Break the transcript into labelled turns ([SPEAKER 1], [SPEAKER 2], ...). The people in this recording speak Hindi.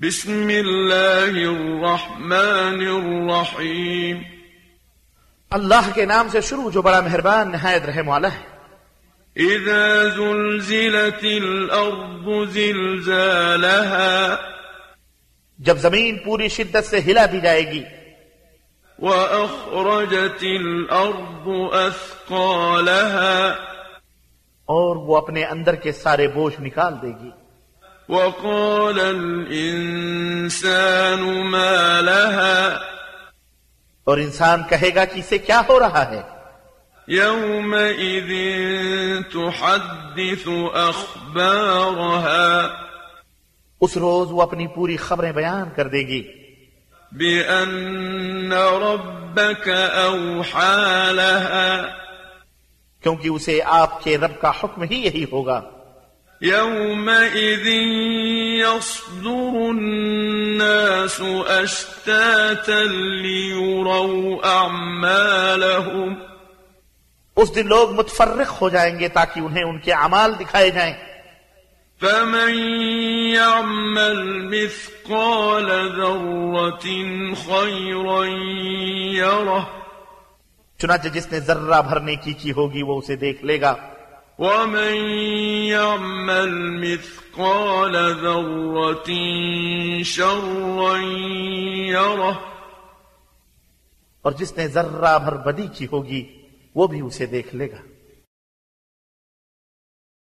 [SPEAKER 1] بسم الله الرحمن الرحيم
[SPEAKER 2] अल्लाह के नाम से शुरू जो बड़ा मेहरबान नहायत रहम वाला है
[SPEAKER 1] إذا زلزلت الأرض زلزالها
[SPEAKER 2] जब जमीन पूरी शिद्दत से हिला दी जाएगी
[SPEAKER 1] وأخرجت الأرض أثقالها
[SPEAKER 2] और वो अपने अंदर के सारे बोझ निकाल देगी
[SPEAKER 1] وقال الإنسان ما لها
[SPEAKER 2] और इंसान कहेगा कि इसे क्या हो रहा है
[SPEAKER 1] يومئذ تحدث أخبارها
[SPEAKER 2] उस रोज वो अपनी पूरी खबरें बयान कर देगी
[SPEAKER 1] بأن ربك أوحى لها
[SPEAKER 2] क्योंकि उसे आपके रब का हुक्म ही यही होगा
[SPEAKER 1] يومئذ يصدر الناس أشتاتا ليروا أعمالهم
[SPEAKER 2] उस दिन लोग मुतफर्रक हो जाएंगे ताकि उन्हें उनके अमाल दिखाए जाएं
[SPEAKER 1] فمن يعمل مثقال ذرة خيرا يره
[SPEAKER 2] चुनाचे जिसने जर्रा भरने की की होगी वो उसे देख लेगा
[SPEAKER 1] ومن يعمل مثقال ذرة شرا يره
[SPEAKER 2] और जिसने जर्रा भर बदी की होगी वो भी उसे देख लेगा